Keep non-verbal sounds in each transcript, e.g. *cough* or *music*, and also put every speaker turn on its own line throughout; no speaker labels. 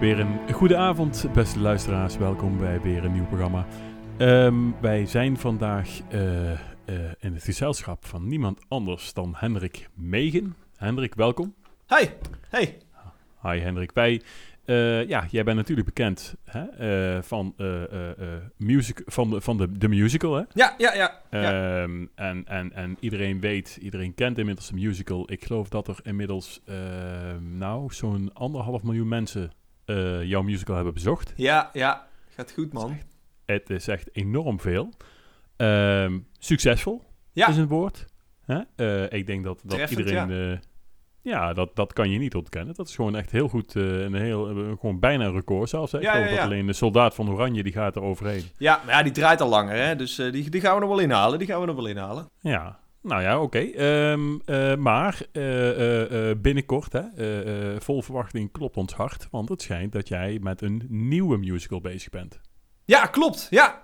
Weer een goede avond, beste luisteraars. Welkom bij weer een nieuw programma. Ehm, wij zijn vandaag eh, eh, in het gezelschap van niemand anders dan Hendrik Megen. Hendrik, welkom.
Hi, hey.
Hi Hendrik. Wij, eh, ja, jij bent natuurlijk bekend hè, eh, van, eh, eh, eh, music, van, de, van de, de musical, hè?
Ja, ja, ja. ja.
Ehm, en, en, en iedereen weet, iedereen kent inmiddels de musical. Ik geloof dat er inmiddels eh, nou, zo'n anderhalf miljoen mensen eh, jouw musical hebben bezocht.
Ja, ja. Gaat goed, man.
Het is echt enorm veel. Ehm, succesvol
Ja.
is een woord. Hè? Eh, ik denk dat, dat
Treffend,
iedereen... eh, ja, dat, dat kan je niet ontkennen. Dat is gewoon echt heel goed. eh, een heel, eh, gewoon bijna een record zelfs. Hè? Ik
Ja,
geloof
ja, ja.
dat alleen de soldaat van Oranje die gaat er overheen.
Ja, maar ja, die draait al langer, hè. Dus eh, die, die gaan we nog wel inhalen. Die gaan we nog wel inhalen.
Ja, nou ja, oké. Ehm, eh, maar eh, eh, eh, binnenkort, hè, eh, eh, vol verwachting klopt ons hart. Want het schijnt dat jij met een nieuwe musical bezig bent.
Ja, klopt. Ja.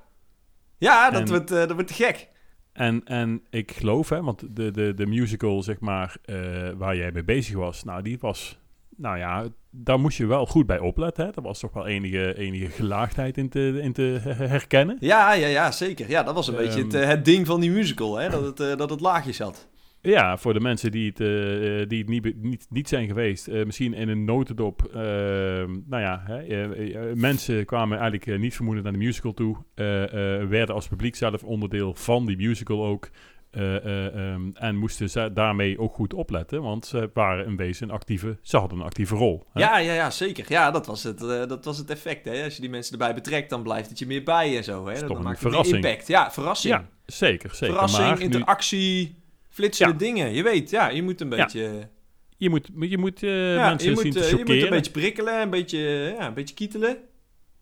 Ja, dat,
En-
wordt, eh, dat wordt te gek.
En, en ik geloof, hè, want de, de, de musical, zeg maar, eh, waar jij mee bezig was, nou, die was, nou ja, daar moest je wel goed bij opletten. Hè? Er was toch wel enige, enige gelaagdheid in te, in te herkennen.
Ja, ja, ja, zeker. Ja, dat was een
Ehm.
beetje het, eh, het ding van die musical, hè. Dat het, eh, dat het laagjes had.
Ja, voor de mensen die het, eh, eh, die het niet, be- niet, niet zijn geweest, eh, misschien in een notendop. eh, nou ja, hè, eh, eh, mensen kwamen eigenlijk eh, niet vermoedend naar de musical toe. eh, eh, werden als publiek zelf onderdeel van die musical ook. eh, eh, ehm, en moesten ze daarmee ook goed opletten, want ze waren in wezen een actieve, ze hadden een actieve rol. hè.
Ja, ja, ja, zeker. Ja, dat was het, eh, dat was het effect, hè. Als je die mensen erbij betrekt, dan blijft het je meer bij en zo, hè.
is
Dan,
toch
dan
een
maakt het meer
verrassing.
impact. Ja, verrassing.
Ja, zeker, zeker.
verrassing,
maar nu-
interactie, flitsende
Ja.
dingen. Je weet, ja, je moet een
Ja.
beetje...
je moet, je moet eh,
Ja,
mensen zien te
eh, je moet
chockeren.
een beetje prikkelen, een beetje, eh, ja, een beetje kietelen.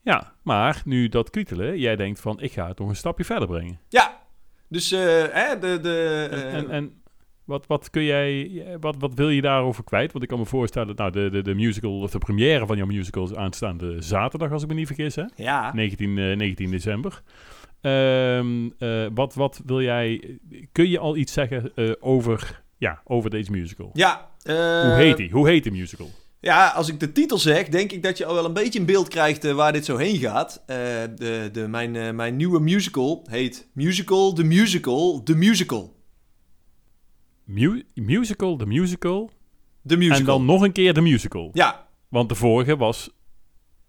Ja, maar nu dat kietelen, jij denkt van, ik ga het nog een stapje verder brengen.
Ja, dus eh, hè, de... de
En,
eh,
en, en wat, wat kun jij, wat, wat wil je daarover kwijt? Want ik kan me voorstellen, nou, de, de, de musical, of de première van jouw musical is aanstaande zaterdag, als ik me niet vergis, hè?
ja.
19, eh, 19 december. Ehm, eh, wat, wat wil jij, kun je al iets zeggen eh, over, ja, over deze musical?
ja eh,
Hoe heet die? Hoe heet de musical?
Ja, als ik de titel zeg, denk ik dat je al wel een beetje een beeld krijgt eh, waar dit zo heen gaat. Eh, de, de, mijn, eh, mijn nieuwe musical heet Musical, The Musical, The Musical.
Mu- musical, de musical,
The Musical.
en dan nog een keer de musical.
Ja,
Want de vorige was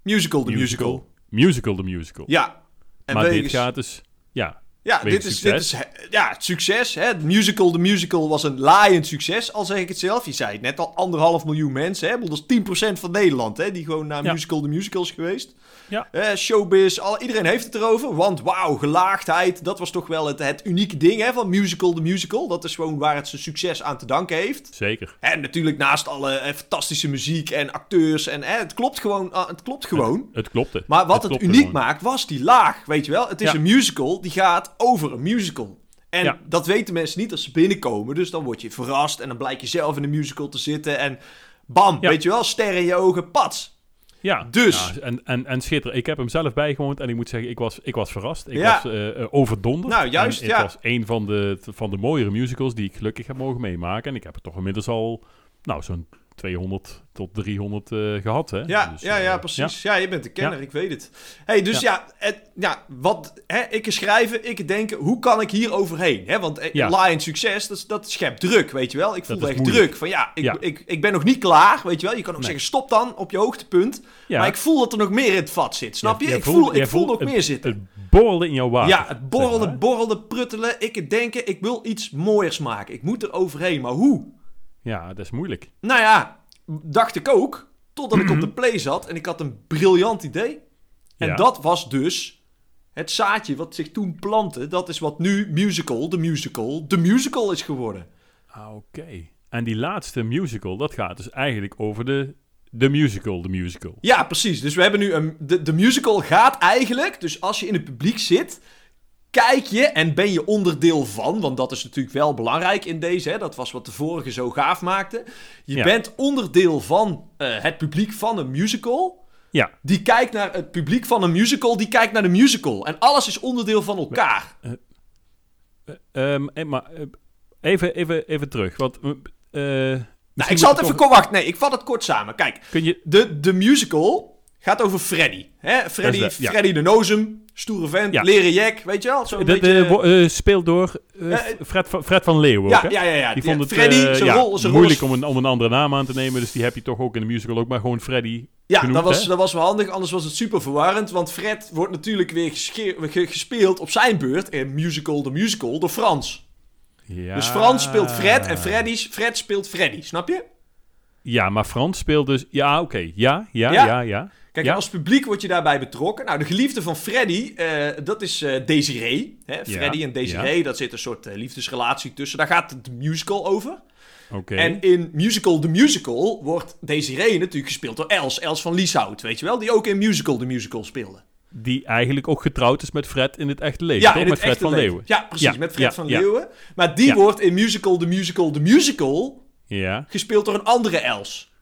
Musical, The Musical.
Musical, de musical.
Ja. En
maar dit
wegens-
gaat dus, ja,
Ja,
Wegens
dit is, dit
succes.
is eh, ja, het succes. Hè? Het musical, de musical was een laaiend succes, al zeg ik het zelf. Je zei het net al, anderhalf miljoen mensen. Hè? Ik bedoel, Dat is 10% van Nederland, hè? die gewoon naar
Ja.
musical, de musical is geweest.
Ja.
Eh, showbiz, al, iedereen heeft het erover. Want wauw, gelaagdheid, dat was toch wel het, het unieke ding hè, van musical, de musical. Dat is gewoon waar het zijn succes aan te danken heeft.
zeker.
En natuurlijk naast alle eh, fantastische muziek en acteurs. En, hè, het klopt gewoon. ah, het klopt gewoon.
Het, het klopte.
*laughs* Maar wat het,
klopte
uniek
gewoon.
maakt, was die laag. Weet je wel, het is
Ja.
een musical die gaat over een musical. En
Ja.
dat weten mensen niet als ze binnenkomen. Dus dan word je verrast en dan blijkt je zelf in de musical te zitten. En bam,
Ja.
weet je wel, sterren in je ogen, pats.
Ja,
Dus.
Ja, en, en, en schitterend. Ik heb hem zelf bijgewoond en ik moet zeggen, ik was, ik was verrast. Ik
Ja.
was eh, eh, overdonderd.
Nou, juist,
En
ja.
Het was een van de, van de mooiere musicals die ik gelukkig heb mogen meemaken. En ik heb er toch inmiddels al, nou, zo'n 200 tot 300 eh, gehad, hè?
Ja,
Dus,
ja,
eh,
ja, precies. Ja. je bent de kenner,
Ja.
ik weet het. hey, dus ja, het, ja wat, hè, ik schrijven, ik denken, hoe kan ik hier overheen? Hè, want eh,
Ja.
Lion Succes, dat, is- dat schept druk, weet je wel. Ik voelde
is
echt
moeilijk.
druk. Van ja ik,
Ja.
Ik, ik ben nog niet klaar, weet je wel. Je kan ook
Nee.
zeggen, stop dan op je hoogtepunt.
Ja.
Maar ik voel dat er nog meer in het vat zit, snap je?
Jij
ik voel,
jij
ik voel nog
het-
meer zitten.
Het borrelde in jouw water.
ja, het borrelde,
zeg maar.
borrelde, pruttelen. Ik het denken, ik wil iets mooiers maken. Ik moet er overheen, maar hoe?
Ja, dat is moeilijk.
Nou ja, dacht ik ook. Totdat ik op
*clears throat*
de play zat en ik had een briljant idee. En
Ja.
dat was dus het zaadje wat zich toen plantte. Dat is wat nu musical, de musical, de musical is geworden.
Ah, Oké. En die laatste musical, dat gaat dus eigenlijk over de, de musical, de musical.
Ja, precies. Dus we hebben nu een. De, de musical gaat eigenlijk. Dus als je in het publiek zit. Kijk je en ben je onderdeel van, want dat is natuurlijk wel belangrijk in deze. Hè? Dat was wat de vorige zo gaaf maakte. Je
Ja.
bent onderdeel van eh, het publiek van een musical.
Ja,
Die kijkt naar het publiek van een musical, die kijkt naar de musical. En alles is onderdeel van elkaar.
Ehm, eh, maar eh, even, even, even terug. Want, eh, eh, misschien
Nou, ik zal
moet
het even...
toch-
Kom, wacht, nee, ik vat het kort samen. Kijk,
Kun je...
de, de musical Gaat over Freddy. Hè? Freddy,
Dat is de- ja.
Freddy de Nozem. Stoere vent.
Ja.
Leren jack. Weet je wel? Zo een
Dat
beetje...
eh, wo- eh, speelt door eh,
eh,
F- Fred, van, Fred van Leeuwen ook,
ja,
hè?
ja, ja, ja.
Die vond
Ja,
het
Freddy,
eh,
zijn
ja,
rol, zijn
moeilijk
rol
om een, om een andere naam aan te nemen. Dus die heb je toch ook in de musical ook maar gewoon Freddy.
Ja,
genoemd,
dat, was,
hè?
dat was wel handig, anders was het super verwarrend. Want Fred wordt natuurlijk weer gesche- ge- gespeeld op zijn beurt in Musical the Musical door Frans.
Ja.
Dus Frans speelt Fred en Freddy's, Fred speelt Freddy, snap je?
Ja, maar Frans speelt dus... Ja, oké. Ja, ja,
Ja.
ja, ja.
Kijk,
Ja.
en als publiek word je daarbij betrokken. Nou, de geliefde van Freddy, eh, dat is eh, Desiree. Hè? Freddy en Desiree, dat zit een soort eh, liefdesrelatie tussen. Daar gaat de musical over.
Oké.
En in Musical the Musical wordt Desiree natuurlijk gespeeld door Els. Els van Lieshout, weet je wel? Die ook in Musical the Musical speelde.
Die eigenlijk ook getrouwd is met Fred in het echte leven.
Ja,
toch?
in
met
het
Fred
echte
van
leven.
Leeuwen.
Ja, precies,
Ja,
met Fred
ja,
van
ja.
Leeuwen. Maar die
Ja.
wordt in Musical the Musical the Musical
Ja.
gespeeld door een andere Els.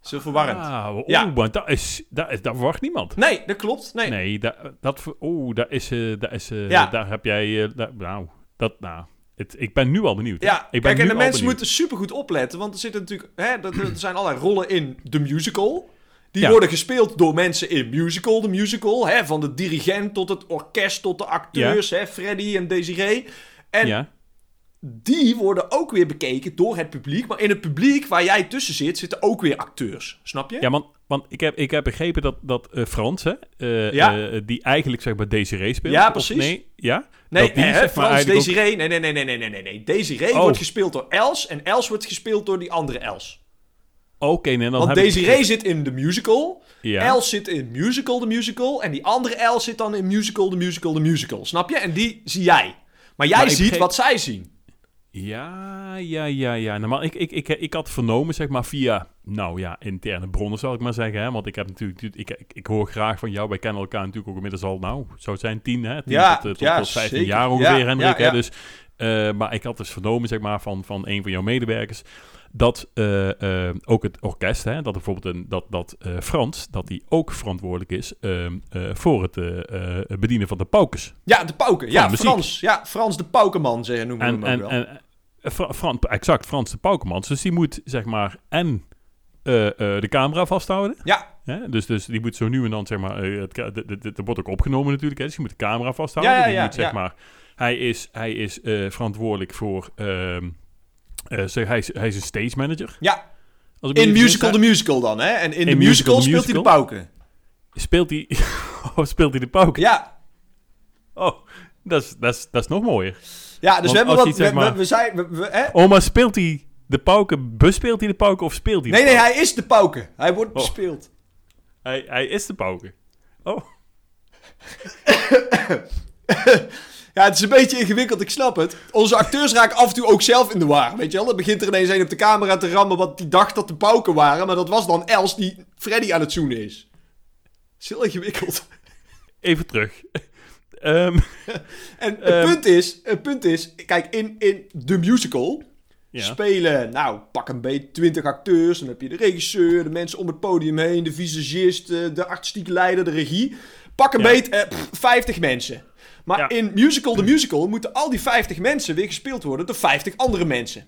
Zo verwarrend.
Ah, oh,
Ja.
want dat is... Dat, is, dat verwacht niemand.
Nee, dat klopt. Nee.
Nee, dat... dat ver- oh, daar is... eh daar, is eh,
Ja.
daar heb jij... eh, daar- nou, dat... Nou, het, ik ben nu al benieuwd.
Ja,
ik ben
kijk, en
nu
de
al
mensen
benieuwd.
moeten supergoed opletten, want er zitten natuurlijk, hè, dat- er zijn allerlei rollen in de musical. Die
Ja.
worden gespeeld door mensen in musical, de musical, hè, van de dirigent tot het orkest tot de acteurs, hè, Freddy en Desiree. En
Ja.
die worden ook weer bekeken door het publiek, maar in het publiek waar jij tussen zit, zitten ook weer acteurs, snap je?
Ja, want, want ik, heb, ik heb begrepen dat, dat eh, Frans, hè, eh,
Ja.
eh, die eigenlijk zeg maar Desiree speelt.
Ja,
of
precies.
nee, ja?
Nee,
dat die,
hè,
zeg maar,
Frans
eigenlijk ook-
Desiree. Nee, nee, nee, nee, nee, nee, nee, nee. Desiree
Oh.
wordt gespeeld door Els en Els wordt gespeeld door die andere Els.
Oké, nee, dan
Want
heb ik-
Desiree zit in de musical,
Ja.
Els zit in musical de musical en die andere Els zit dan in musical de musical de musical. Snap je? En die zie jij. Maar jij
Maar ik
ziet
begreep-
wat zij zien.
Ja, ja, ja, ja. Nou, maar ik, ik, ik, ik had vernomen, zeg maar, via, nou ja, interne bronnen zal ik maar zeggen. Hè? Want ik heb natuurlijk, ik, ik, ik hoor graag van jou, wij kennen elkaar natuurlijk ook inmiddels al, nou, zo het zijn tien, hè? Tien
Ja,
tot, eh, tot,
ja,
tot 15
zeker.
jaar ongeveer,
Ja,
Hendrik.
ja,
Hè?
ja.
Dus, eh, maar ik had dus vernomen, zeg maar, van, van een van jouw medewerkers, dat eh, eh, ook het orkest, hè, dat bijvoorbeeld een, dat, dat eh, Frans, dat die ook verantwoordelijk is ehm, eh, voor het eh, eh, bedienen van de paukes.
Ja, de pauken. Ja,
Van muziek.
Frans. Ja, Frans de paukenman zeggen, noemen we
En,
hem ook
en,
wel.
en eh, Fra- Fran- exact, Frans de Paukemans. Dus die moet zeg maar en eh, eh, de camera vasthouden.
ja,
Hè? Dus, dus die moet zo nu en dan zeg maar. eh, het, ka- de- de- de- er wordt ook opgenomen natuurlijk. Hè? Dus die moet de camera vasthouden.
Ja, ja,
die
ja,
moet, zeg
ja.
maar, hij is, hij is eh, verantwoordelijk voor. ehm, eh, zeg, hij, is, hij is een stage manager.
ja.
Als ik me
In
niet
musical de
vergis,
musical dan, hè? En in, de
In
musical,
Musical de
speelt hij de
Musical.
pauken.
hè? Speelt hij. *laughs* oh, speelt hij de pauk?
Ja,
Oh, dat is, dat, is, dat is nog mooier.
Ja,
Want
dus we hebben
als
wat.
je
We,
iets, zeg
we,
maar-
we zijn. We, we- hè?
Oh, maar speelt hij de pauken? Bespeelt hij de pauken of speelt hij de
Nee, nee,
pauken?
hij is de pauken. Hij wordt
Oh.
bespeeld.
Hij, hij is de pauken. Oh.
Ja, het is een beetje ingewikkeld, ik snap het. Onze acteurs raken af en toe ook zelf in de war. Weet je wel, dan begint er ineens een op de camera te rammen. wat die dacht dat de pauken waren. Maar dat was dan Els die Freddy aan het zoenen is. Het is heel ingewikkeld.
Even terug. *laughs* Ehm,
En het,
Ehm.
punt is, het punt is, kijk, in, in de musical
Ja.
spelen, nou, pak een beetje 20 acteurs. Dan heb je de regisseur, de mensen om het podium heen, de visagist, eh, de artistiek leider, de regie. Pak een
Ja.
beetje eh, pff, 50 mensen. Maar
Ja.
in musical de musical moeten al die 50 mensen weer gespeeld worden door 50 andere mensen.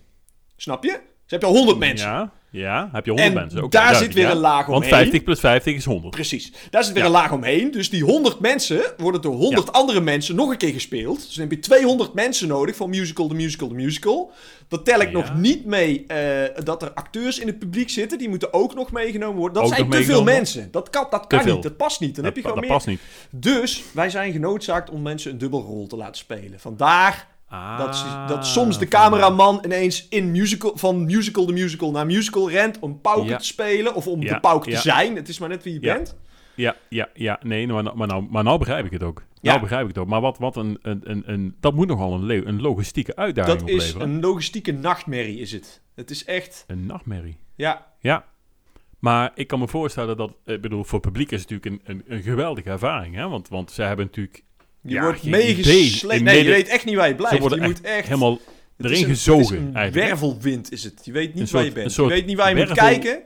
Snap je? Dus heb je al 100 mensen.
ja, ja, heb je 100
En
mensen. Oké,
daar
duidelijk,
zit weer
ja.
een laag
Want
omheen.
50 plus 50 is 100.
Precies. Daar zit weer een laag omheen. Dus die 100 mensen worden door 100 andere mensen nog een keer gespeeld. Dus dan heb je 200 mensen nodig voor musical, de musical, de musical. Dat tel ik
Ja.
nog niet mee eh, dat er acteurs in het publiek zitten. Die moeten ook nog meegenomen worden. Dat
Ook
zijn
nog
te veel
meegenomen?
mensen. Dat kan, dat kan
veel.
niet. Dat past niet. Dan
Dat,
heb je
dat,
gewoon meer.
past niet.
Dus wij zijn genoodzaakt om mensen een dubbelrol te laten spelen. Vandaar dat, ze- dat soms de
Ah,
cameraman ineens in musical, van musical de musical naar musical rent om pauken
Ja.
te spelen of om
Ja,
de pauken
ja.
te zijn. Het is maar net wie je
Ja.
bent.
Ja, ja, ja. Nee, maar, nou- maar, nou, maar nou begrijp ik het ook.
Ja.
Nou begrijp ik het ook. Maar wat, wat een, een, een, een... Dat moet nogal een, le- een logistieke uitdaging
Dat is
opleveren.
een logistieke nachtmerrie, is het. Het is echt,
een nachtmerrie.
ja,
Ja. Maar ik kan me voorstellen dat... Ik bedoel, voor het publiek is het natuurlijk een, een, een geweldige ervaring. Hè? Want, want zij hebben natuurlijk...
je
Ja,
wordt
geen idee.
meegesleept.
In
Nee, je
midden-
weet echt niet waar je blijft.
ze worden
je
echt,
moet echt
helemaal
het is
erin
een-
gezogen.
Het is een
eigenlijk.
wervelwind is het. Je weet niet
Een
waar
soort-
je
een
bent. Je
soort
weet niet waar je moet
wervel-
kijken.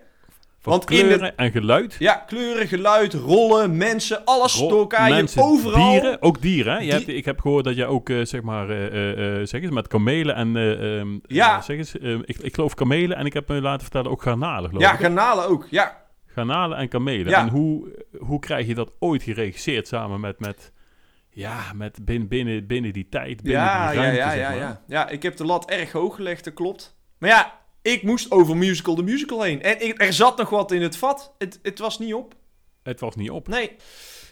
Van
want in de-
kleuren en geluid.
Ja, kleuren, geluid, rollen, mensen, alles
Ro-
door elkaar. Je hebt
mensen,
overal.
Dieren, ook dieren. Hè? Je
Die-
hebt, ik heb gehoord dat jij ook, eh, zeg maar, eh, eh, eh, zeg eens, met kamelen en... eh, ehm,
Ja.
eh, zeg eens, eh, ik, ik geloof kamelen en ik heb me laten vertellen ook garnalen, geloof
Ja,
ik.
garnalen ook. Ja,
garnalen en kamelen.
Ja.
En hoe, hoe krijg je dat ooit geregisseerd samen met, met, ja, met binnen, binnen, binnen die tijd, binnen
Ja,
die
ja,
ruimte,
ja,
zeg
ja,
maar.
ja. Ja, ik heb de lat erg hoog gelegd, dat klopt. Maar ja, ik moest over musical de musical heen. En ik- er zat nog wat in het vat. Het, het was niet op.
Het was niet op.
Nee.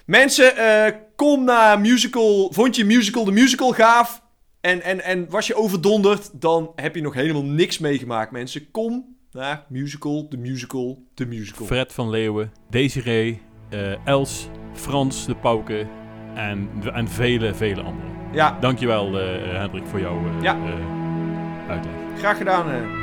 Mensen, eh, kom naar musical. Vond je musical de musical gaaf? En, en, en was je overdonderd? Dan heb je nog helemaal niks meegemaakt, mensen. Kom naar musical de musical de musical.
Fred van Leeuwen, Desiree, eh, Els, Frans de Pauke en, en vele, vele anderen.
Ja,
Dankjewel eh Hendrik voor jouw eh
Ja.
eh, uitleg.
graag gedaan. eh.